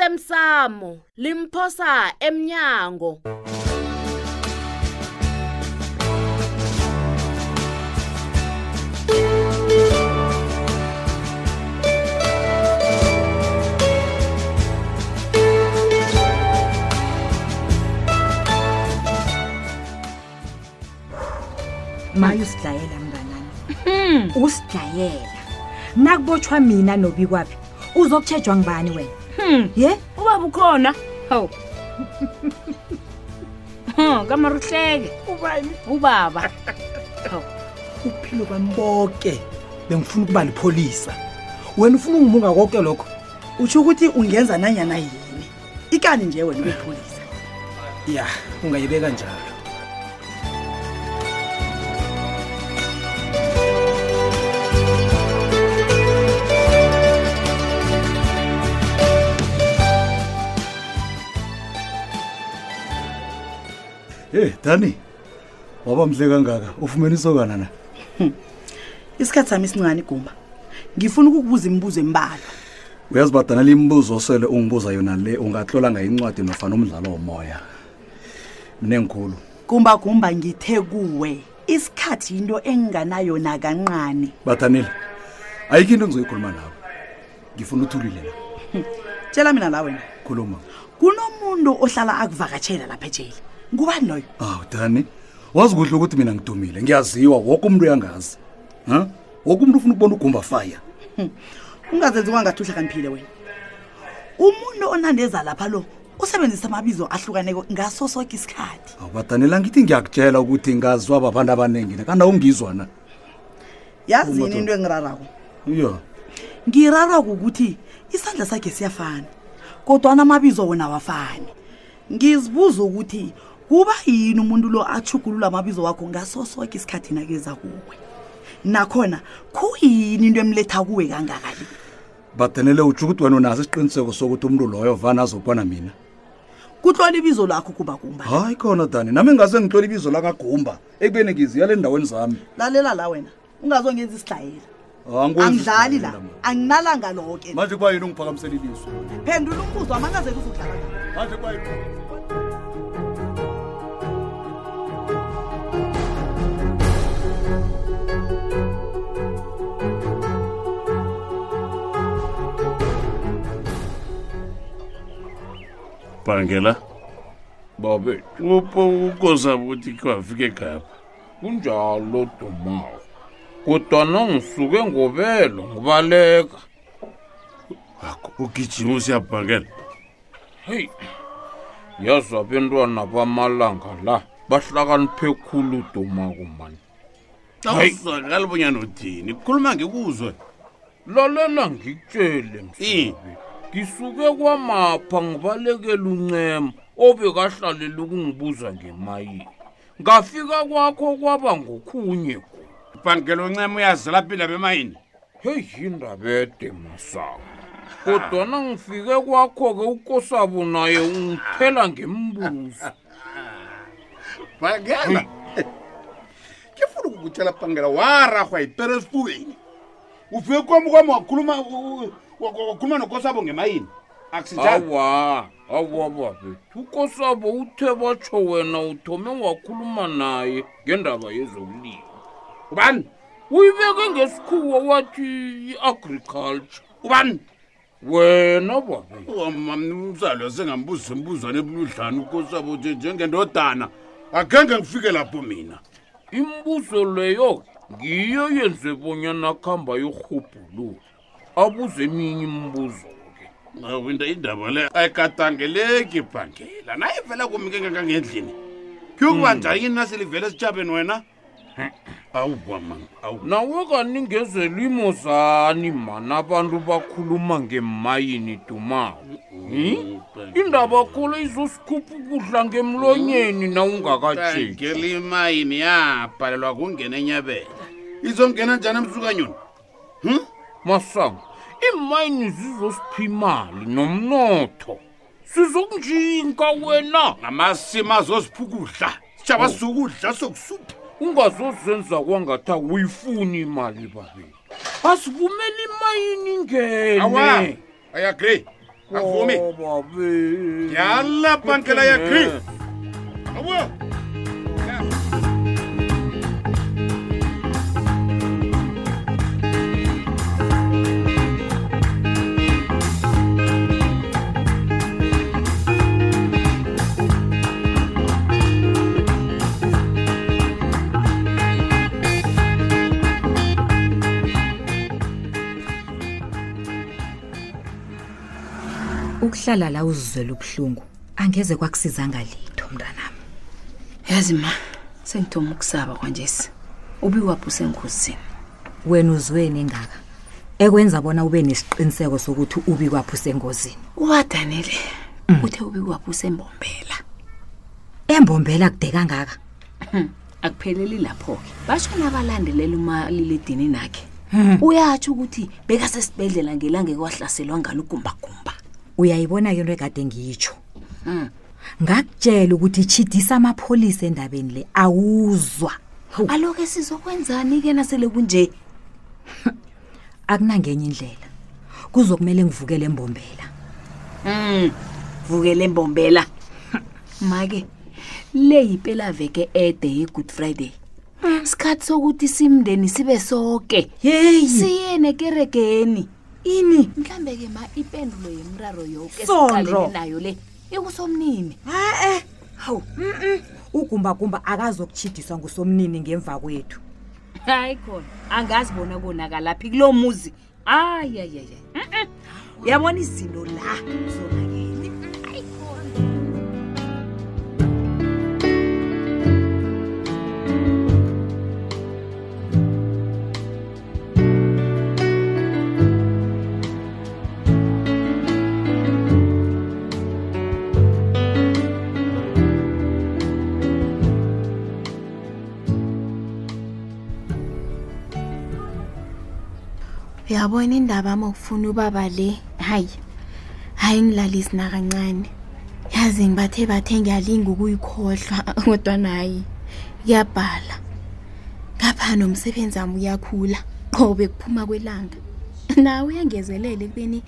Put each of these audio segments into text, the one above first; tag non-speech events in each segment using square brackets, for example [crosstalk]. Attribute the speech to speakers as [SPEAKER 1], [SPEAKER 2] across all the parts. [SPEAKER 1] osemsamo limphosa emnyango
[SPEAKER 2] maye usidlayela mnganami usidlayela nakubotshwa mina nobi kwaphi uzokutshejwa ngubani wena
[SPEAKER 3] Hmm,
[SPEAKER 2] ye
[SPEAKER 3] ubaba ukhona hawu [laughs] Huh, kamar uhleke
[SPEAKER 4] ubani
[SPEAKER 3] ubaba
[SPEAKER 4] uphilo bami bonke bengifuna ukuba lipholisa wena ufuna ungimunga konke lokho utsho ukuthi ungenza nanyana yini ikani nje wena ubepholisa ya ungayibeka njalo
[SPEAKER 5] hey dani waba mhle kangaka ufumene isokana na
[SPEAKER 4] isikhathi sami esincane igumba ngifuna ukukubuza imibuzo embalwa
[SPEAKER 5] uyazi badanela imibuzo osele ungibuza yona le ungatlola ngayo incwadi nofana umdlalo womoya mnengikhulu
[SPEAKER 4] gumba gumba ngithe kuwe isikhathi yinto enginganayo nakanqane
[SPEAKER 5] badanile ayikho into engizoyikhuluma nawe ngifuna uthulile la
[SPEAKER 4] tshela mina la wena
[SPEAKER 5] khuluma
[SPEAKER 4] kunomuntu ohlala akuvakatshela lapha etsheli ngubani loyo
[SPEAKER 5] aw dani wazi kuhle ukuthi mina ngidumile ngiyaziwa woke umuntu uyangazi ha woke umuntu ufuna ukubona ugumba faya
[SPEAKER 4] ungazenzi kwangathi uhlakaniphile wena umuntu onandeza lapha lo usebenzisa amabizo ahlukaneko ngaso soke isikhathi
[SPEAKER 5] awu badanela ngithi ngiyakutshela ukuthi ngaziwa babantu abaningi na kanti awungizwa na
[SPEAKER 4] yazi yini
[SPEAKER 5] Umadoda.
[SPEAKER 4] into engirarako
[SPEAKER 5] iyo
[SPEAKER 4] ngirarako ukuthi isandla sakhe siyafana kodwana amabizo wona awafani ngizibuza ukuthi kuba yini umuntu lo athugulula amabizo wakho ngaso soke isikhathi nakeza kuwe nakhona khuyini into emletha kuwe kangakali
[SPEAKER 5] badanele utsho ukuthi wena unaso isiqiniseko sokuthi umuntu loyo vana azobona mina
[SPEAKER 4] kutlola ibizo lakho kuba kumba
[SPEAKER 5] hayi khona dani nami ngase ngitlola ibizo lakagumba ekubeni ngiziyala endaweni zami
[SPEAKER 4] lalela la wena ungazongenza isidlayela
[SPEAKER 5] Angikwenzi
[SPEAKER 4] angidlali la
[SPEAKER 5] isidlayela mina.
[SPEAKER 4] anginalanga loke
[SPEAKER 5] manje kuba yini ungiphakamisela iliso
[SPEAKER 4] phendula umbuzo amangazeli uzudlala
[SPEAKER 5] manje kuba yini
[SPEAKER 6] bhangela
[SPEAKER 7] babe
[SPEAKER 6] upho ukoza ukuthi kwafike khapha
[SPEAKER 7] kunjalo dumawo kodwana ngisuke ngobelo ngobaleka
[SPEAKER 6] akho ugijima usiyabhakela
[SPEAKER 7] heyi yazi abentwana bamalanga la bahlakaniphe khulu dumako mani Hayi.
[SPEAKER 6] awuzwakali bonyana uthini kukhuluma ngikuzwe
[SPEAKER 7] lalela ngikutshele
[SPEAKER 6] Eh.
[SPEAKER 7] msabe ngisuke kwamapha ngibalekela uncema obekahlalela ukungibuza ngemayini ngafika kwakho kwaba ngokhunye ku
[SPEAKER 6] bhangela uncema uyazela phila bemayini
[SPEAKER 7] heyi yindabede masango kodwana ngifike kwakho-ke ukosabo naye ungiphela ngembuzo
[SPEAKER 6] bhangela ke funa ukukutshela bhangela waragwa iperesifubeni ufike kwami kwami wakhuluma wakhuluma nokosabo ngemayini akusinjalo
[SPEAKER 7] awa awa babe ukosabo uthe batsho wena uthome wakhuluma naye ngendaba yezokulima
[SPEAKER 6] ubani
[SPEAKER 7] uyibeke ngesikhuwa wathi i-agriculture
[SPEAKER 6] ubani
[SPEAKER 7] wena babe
[SPEAKER 6] umzalo sengambuzisa imbuzwane ebuludlana ukosabo nje njengendodana akhenge ngifike lapho mina
[SPEAKER 7] imibuzo leyo ngiyo yenze bonyana kuhamba yorhubhululo abuze eminye imibuzo-ke
[SPEAKER 6] awu into indaba le ayikatangeleki bhangela naye vele kumike ngangangendlini kuyokuba njani yini naselivele esitshabeni wena awu bama awu
[SPEAKER 7] nawe kaningezela imozani mani abantu bakhuluma ngemayini dumawo Hmm? indaba kholo izosikhupha ukudla ngemlonyeni na ungakatsheki
[SPEAKER 6] bhangela imayini yabhalelwa kungena enyabela izongena njani emsukanyoni
[SPEAKER 7] masango imayini zizosipha imali nomnotho sizokunjinka wena
[SPEAKER 6] namasimo azoziphukudla sitshaba sokudla sokusupha
[SPEAKER 7] ungazozenza kwangathi awuyifuni imali babeni asivumeli imayini
[SPEAKER 6] awa
[SPEAKER 7] ingene
[SPEAKER 6] i agree Avumi.
[SPEAKER 5] Oh,
[SPEAKER 7] babe
[SPEAKER 6] yala pankela ya gri abo
[SPEAKER 2] ukuhlala la uzizwela ubuhlungu angeze kwakusizanga litho mntanami
[SPEAKER 3] yazi ma sengithoma ukusaba kwanjesi ubiwaphi usengozini
[SPEAKER 2] wena uzweni engaka ekwenza bona ube nesiqiniseko sokuthi ubi kwaphi usengozini
[SPEAKER 3] uwadanele uthe ubiwaphi usembombela
[SPEAKER 2] embombela kude kangaka
[SPEAKER 3] akupheleli lapho-ke basho nabalandelela umaliledinini akhe uyatsho ukuthi bekasesibhedlela ngelanga ekwahlaselwa ngalo ugumbagumba
[SPEAKER 2] uyayibona ke into ekade ngitsho ngakutshela ukuthi itshidisa amapholisa endabeni le awuzwa Hawu,
[SPEAKER 3] aloke sizokwenzani-ke nasele kunje
[SPEAKER 2] akunangenye indlela kuzokumele ngivukele embombela
[SPEAKER 3] Mm, vukele mbombela make le yipela veke ede ye-good friday sikhathi sokuthi simndeni sibe soke
[SPEAKER 2] yeyi
[SPEAKER 3] siye nekeregeni
[SPEAKER 2] ini
[SPEAKER 3] mhlambe-ke ma ipendulo yemraro yoke
[SPEAKER 2] Sondro.
[SPEAKER 3] siqalene nayo le ikusomnini
[SPEAKER 2] ha-e hawu mm-mm. ugumbagumba akazokutshidiswa ngusomnini ngemva kwethu
[SPEAKER 3] hayi khona angazi bona konakalaphi kulo muzi ayayayayi uyabona izinto la zonakele
[SPEAKER 8] uyabona indaba ama ufuna ubaba le hayi hayi ngilalisi nakancane yazi ngibathe bathe ngiyalinga ukuyikhohlwa [laughs] kodwa nayi kuyabhala ngapha nomsebenzi wami uyakhula qobe kuphuma kwelanga nawe uyangezelela ekubeni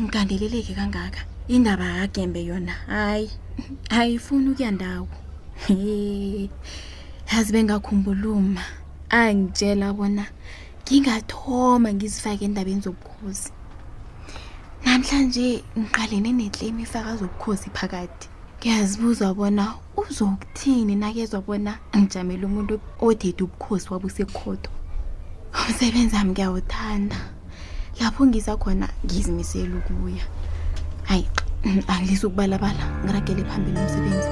[SPEAKER 8] ngigandeleleke kangaka indaba akagembe yona hayi ayifuni ukuya ndawo He. yazi bengakhumbuluma angitshela bona ngingathoma ngizifake endabeni zobukhozi namhlanje ngiqalene neclaim ifaka zobukhozi phakathi ngiyazibuzwa bona uzokuthini nakezwa bona ngijamele umuntu odede ubukhosi wabusekhotho umsebenzi wami ngiyawuthanda lapho ngisakhona ngizimisele ukuya hayi angilisi ukubalabala ngiragele phambili umsebenzi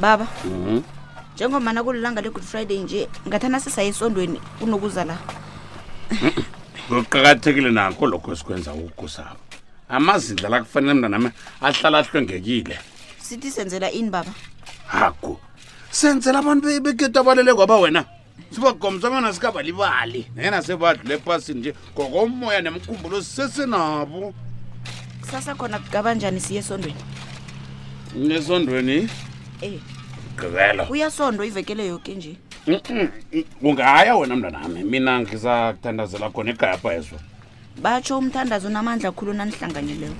[SPEAKER 9] baba njengomana kulilanga le-good friday nje ngathana sisaye esondweni kunokuza la
[SPEAKER 6] kuqakathekile nakho lokho esikwenza ukukusaba amazindla la kufanele mntanami ahlala ahlwengekile
[SPEAKER 9] sithi senzela ini baba
[SPEAKER 6] hagu senzela abantu be- bekhethu abalele kwaba wena sibagomsangana sikabalibali nena sebadlula ephasini nje ngokomoya nemkhumbulo sisesenabo
[SPEAKER 9] kusasa khona kugaba njani siye esondweni
[SPEAKER 6] nesondweni
[SPEAKER 9] Eh.
[SPEAKER 6] gqibelo
[SPEAKER 9] kuyasondo ivekele yoke nje
[SPEAKER 6] Mm-mm. ungaya wena mntanami mina ngisathandazela khona egapha yezo
[SPEAKER 9] batsho umthandazo unamandla khulu nanihlanganyeleyo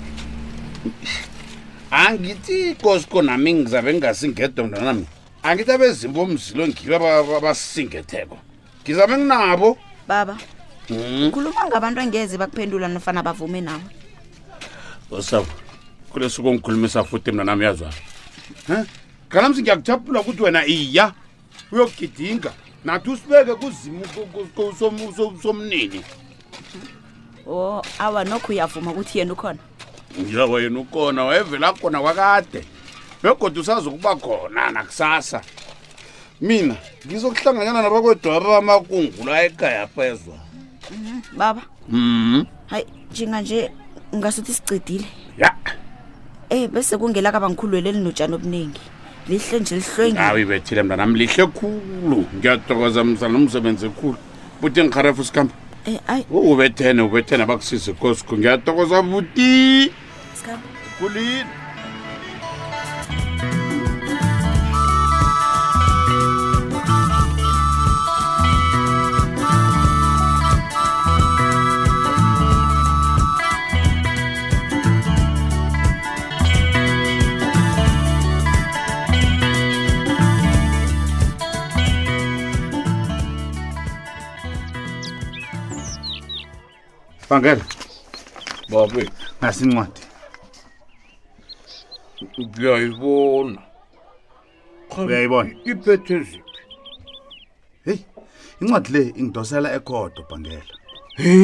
[SPEAKER 6] angithi kosko nami ngizabe ngingasingedwa mntanami angithi abezimbo mzilo ngiyo aba- abasingetheko ngizabe nginabo
[SPEAKER 9] baba
[SPEAKER 6] Mm.
[SPEAKER 9] khuluma ngabantu angeze bakuphendula nofana bavume nawe
[SPEAKER 6] osabo kulesuku ongikhulumisa futhi mnanami yazwana kanamsi ngiyakujaphula ukuthi wena iya uyokugidinga nathi usibeke kuzimu ku- ku- ku- som- som- somnini
[SPEAKER 9] o awa nokho uyavuma ukuthi yena ukhona
[SPEAKER 6] ngiyawa yena ukona wayevela khona kwakade begoda usazokuba khona nakusasa mina ngizokuhlanganyana nabakwedwaba amakungula ekhaya phezwa
[SPEAKER 9] baba
[SPEAKER 6] mm
[SPEAKER 9] hayi njenganje ngasuthi sicidile
[SPEAKER 6] ya
[SPEAKER 9] Eh bese kungelaka bangikhulweleli notshani obuningi lihle nje lihlwengile
[SPEAKER 6] hayi ibethile mntanam lihle khulu ngiyathokoza mzana nomsebenzi khulu buti ngikharefu sikhamba
[SPEAKER 9] Eh, ayi
[SPEAKER 6] ubethene ubethene abakusizi kosikhu ngiyathokoza buti
[SPEAKER 9] sikhamba
[SPEAKER 6] kulini bangela
[SPEAKER 7] babe
[SPEAKER 6] nasincwadi
[SPEAKER 7] ngiyayibona Qha,
[SPEAKER 6] Uyayibona?
[SPEAKER 7] iphethe ziphi
[SPEAKER 6] heyi incwadi le ingidosela ekhodo bangela
[SPEAKER 7] he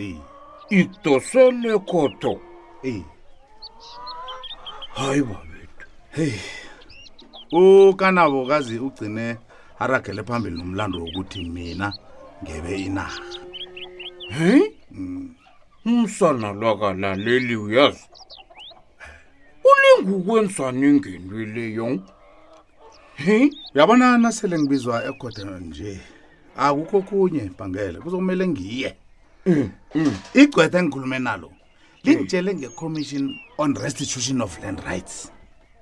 [SPEAKER 6] eyi
[SPEAKER 7] idosele kodo
[SPEAKER 6] eyi
[SPEAKER 7] hayi babethu
[SPEAKER 6] ukanabo kazi ugcine aragele phambili nomlando wokuthi mina ngebe inarha
[SPEAKER 7] he umsana lwakalaleli uyazi ulingukwenzani ngenwe leyo he
[SPEAKER 6] uyabona nasele ngibizwa ekhoda nje akukho kunye bhangele kuzokumele ngiye igcwetha engikhulume nalo lingitshele nge-commission on restitution of land rights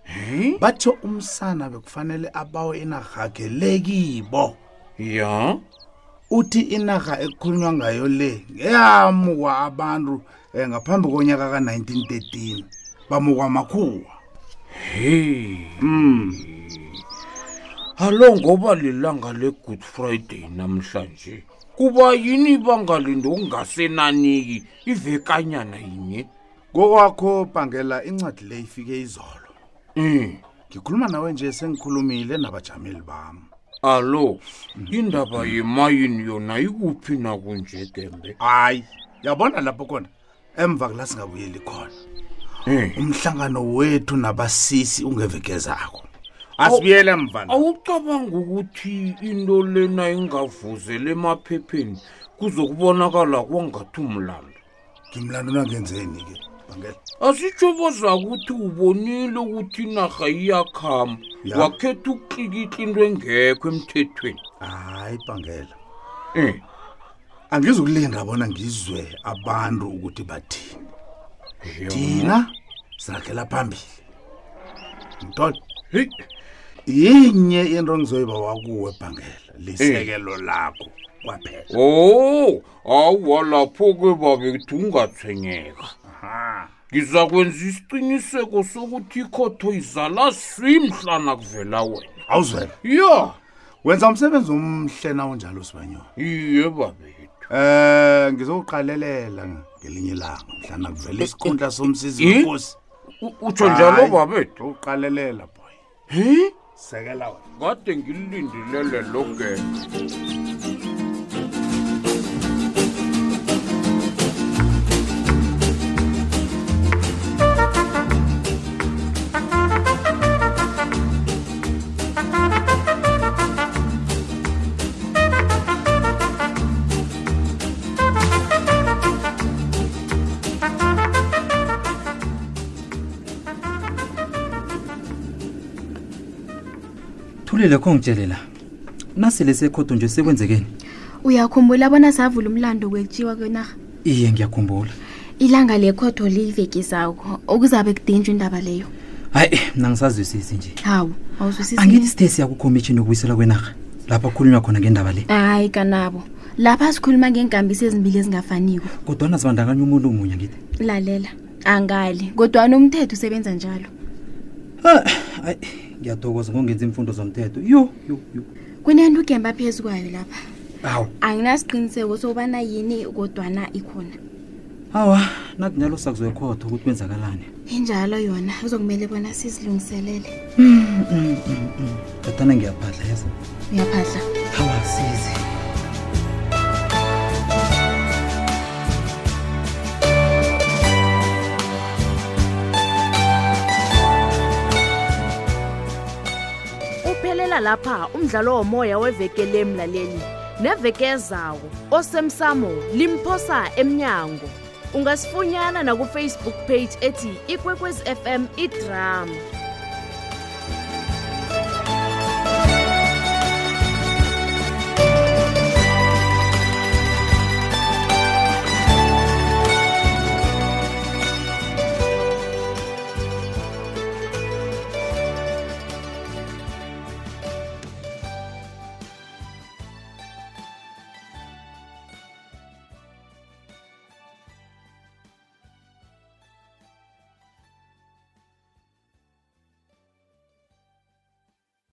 [SPEAKER 7] he
[SPEAKER 6] batsho umsana bekufanele abawe inarhakhe le kibo
[SPEAKER 7] ya
[SPEAKER 6] uthi inarha ekukhulunywa ngayo le ngeyamukwa abantu um ngaphambi konyaka ka-1913 bamukwa makhuwa
[SPEAKER 7] he
[SPEAKER 6] um
[SPEAKER 7] alo ngoba lilanga le-good friday namhlanje kuba yini ibangalindi okungasenaniki ivekanyana yinye
[SPEAKER 6] kokwakho bhangela incwadi le ifike izolo
[SPEAKER 7] um
[SPEAKER 6] ngikhuluma nawe nje sengikhulumile nabajameli bami
[SPEAKER 7] alo indaba yemayini yona ikuphi nakunje dembe
[SPEAKER 6] hayi yabona lapho khona emva kula singabuyeli khona Eh.
[SPEAKER 7] um
[SPEAKER 6] umhlangano wethu nabasisi ungevekezakho asibuyele emva na.
[SPEAKER 7] awucabanga ukuthi into lena ingavuzela emaphepheni kuzokubonakala kwangathi umlando
[SPEAKER 6] ngimlando nangenzeni-ke bhangela
[SPEAKER 7] asitsho bozakuthi ubonile ukuthi inarha iyakhamba
[SPEAKER 6] Ya.
[SPEAKER 7] wakhetha ukuklikitla into engekho emthethweni
[SPEAKER 6] hayi bhangela
[SPEAKER 7] um
[SPEAKER 6] angizukulinda bona ngizwe abantu ukuthi bathini thina siragela phambili mntolo
[SPEAKER 7] heyi
[SPEAKER 6] yinye into engizoyibawa kuwe bhangela lisekelo lakho kwaphela
[SPEAKER 7] o awuwa lapho-ke babethu ungathwenyeka
[SPEAKER 6] Aha.
[SPEAKER 7] ngizakwenza isiqiniseko sokuthi ikhotho izala swimhlana kuvela wena
[SPEAKER 6] awuzwela
[SPEAKER 7] ya
[SPEAKER 6] wenza umsebenzi omhle nawunjalo sibanyoni
[SPEAKER 7] iye babethu
[SPEAKER 6] um ngizokuqalelela ngelinye ilanga mhlana kuvela isikhundla somsizi
[SPEAKER 7] Eh?
[SPEAKER 6] wenkosi
[SPEAKER 7] U- utsho njalo
[SPEAKER 6] Hayi,
[SPEAKER 7] babethu
[SPEAKER 6] ngizokuqalelela boy
[SPEAKER 7] he
[SPEAKER 6] sekela wena
[SPEAKER 7] kade ngililindilele logenge
[SPEAKER 10] thulile kho ngitshelela nasele sekhodo nje sekwenzekeni
[SPEAKER 8] uyakhumbula bona savula umlando kwetjiwa kwenarha
[SPEAKER 10] iye ngiyakhumbula
[SPEAKER 8] ilanga lekhodo liyiveki zakho okuzabe kudinjwa indaba leyo
[SPEAKER 10] hayi mna ngisazwisisi nje
[SPEAKER 8] hawu awuzwisisi
[SPEAKER 10] angini sitesi yakukhomitshini yokubuyiselwa kwenarha lapha kukhulunywa khona ngendaba le
[SPEAKER 8] hayi kanabo lapha sikhuluma ngenkambiso ezimbili ezingafaniko
[SPEAKER 10] kodwana zibandakanye umuntu munye ngithi
[SPEAKER 8] lalela angali kodwana umthetho usebenza njalo
[SPEAKER 10] hayi ngiyathokoza ngongenza imfundo zomthetho yo yo yo
[SPEAKER 8] kunento ugemba phezu kwayo lapha
[SPEAKER 10] awu
[SPEAKER 8] anginasiqiniseko sokubana yini kodwana ikhona
[SPEAKER 10] awa nathi njalo sakuzoyikhotha ukuthi kwenzakalani
[SPEAKER 8] injalo yona uzokumele bona sizilungiselele
[SPEAKER 10] kodwana ngiyaphadla yazi
[SPEAKER 8] uyaphahla
[SPEAKER 10] awa sizi
[SPEAKER 1] uphelela lapha umdlalo womoya wevekele mlaleli neveke ezawo osemsamo limphosa emnyango ungasifunyana nakufacebook page ethi ikwekwezi fm idrama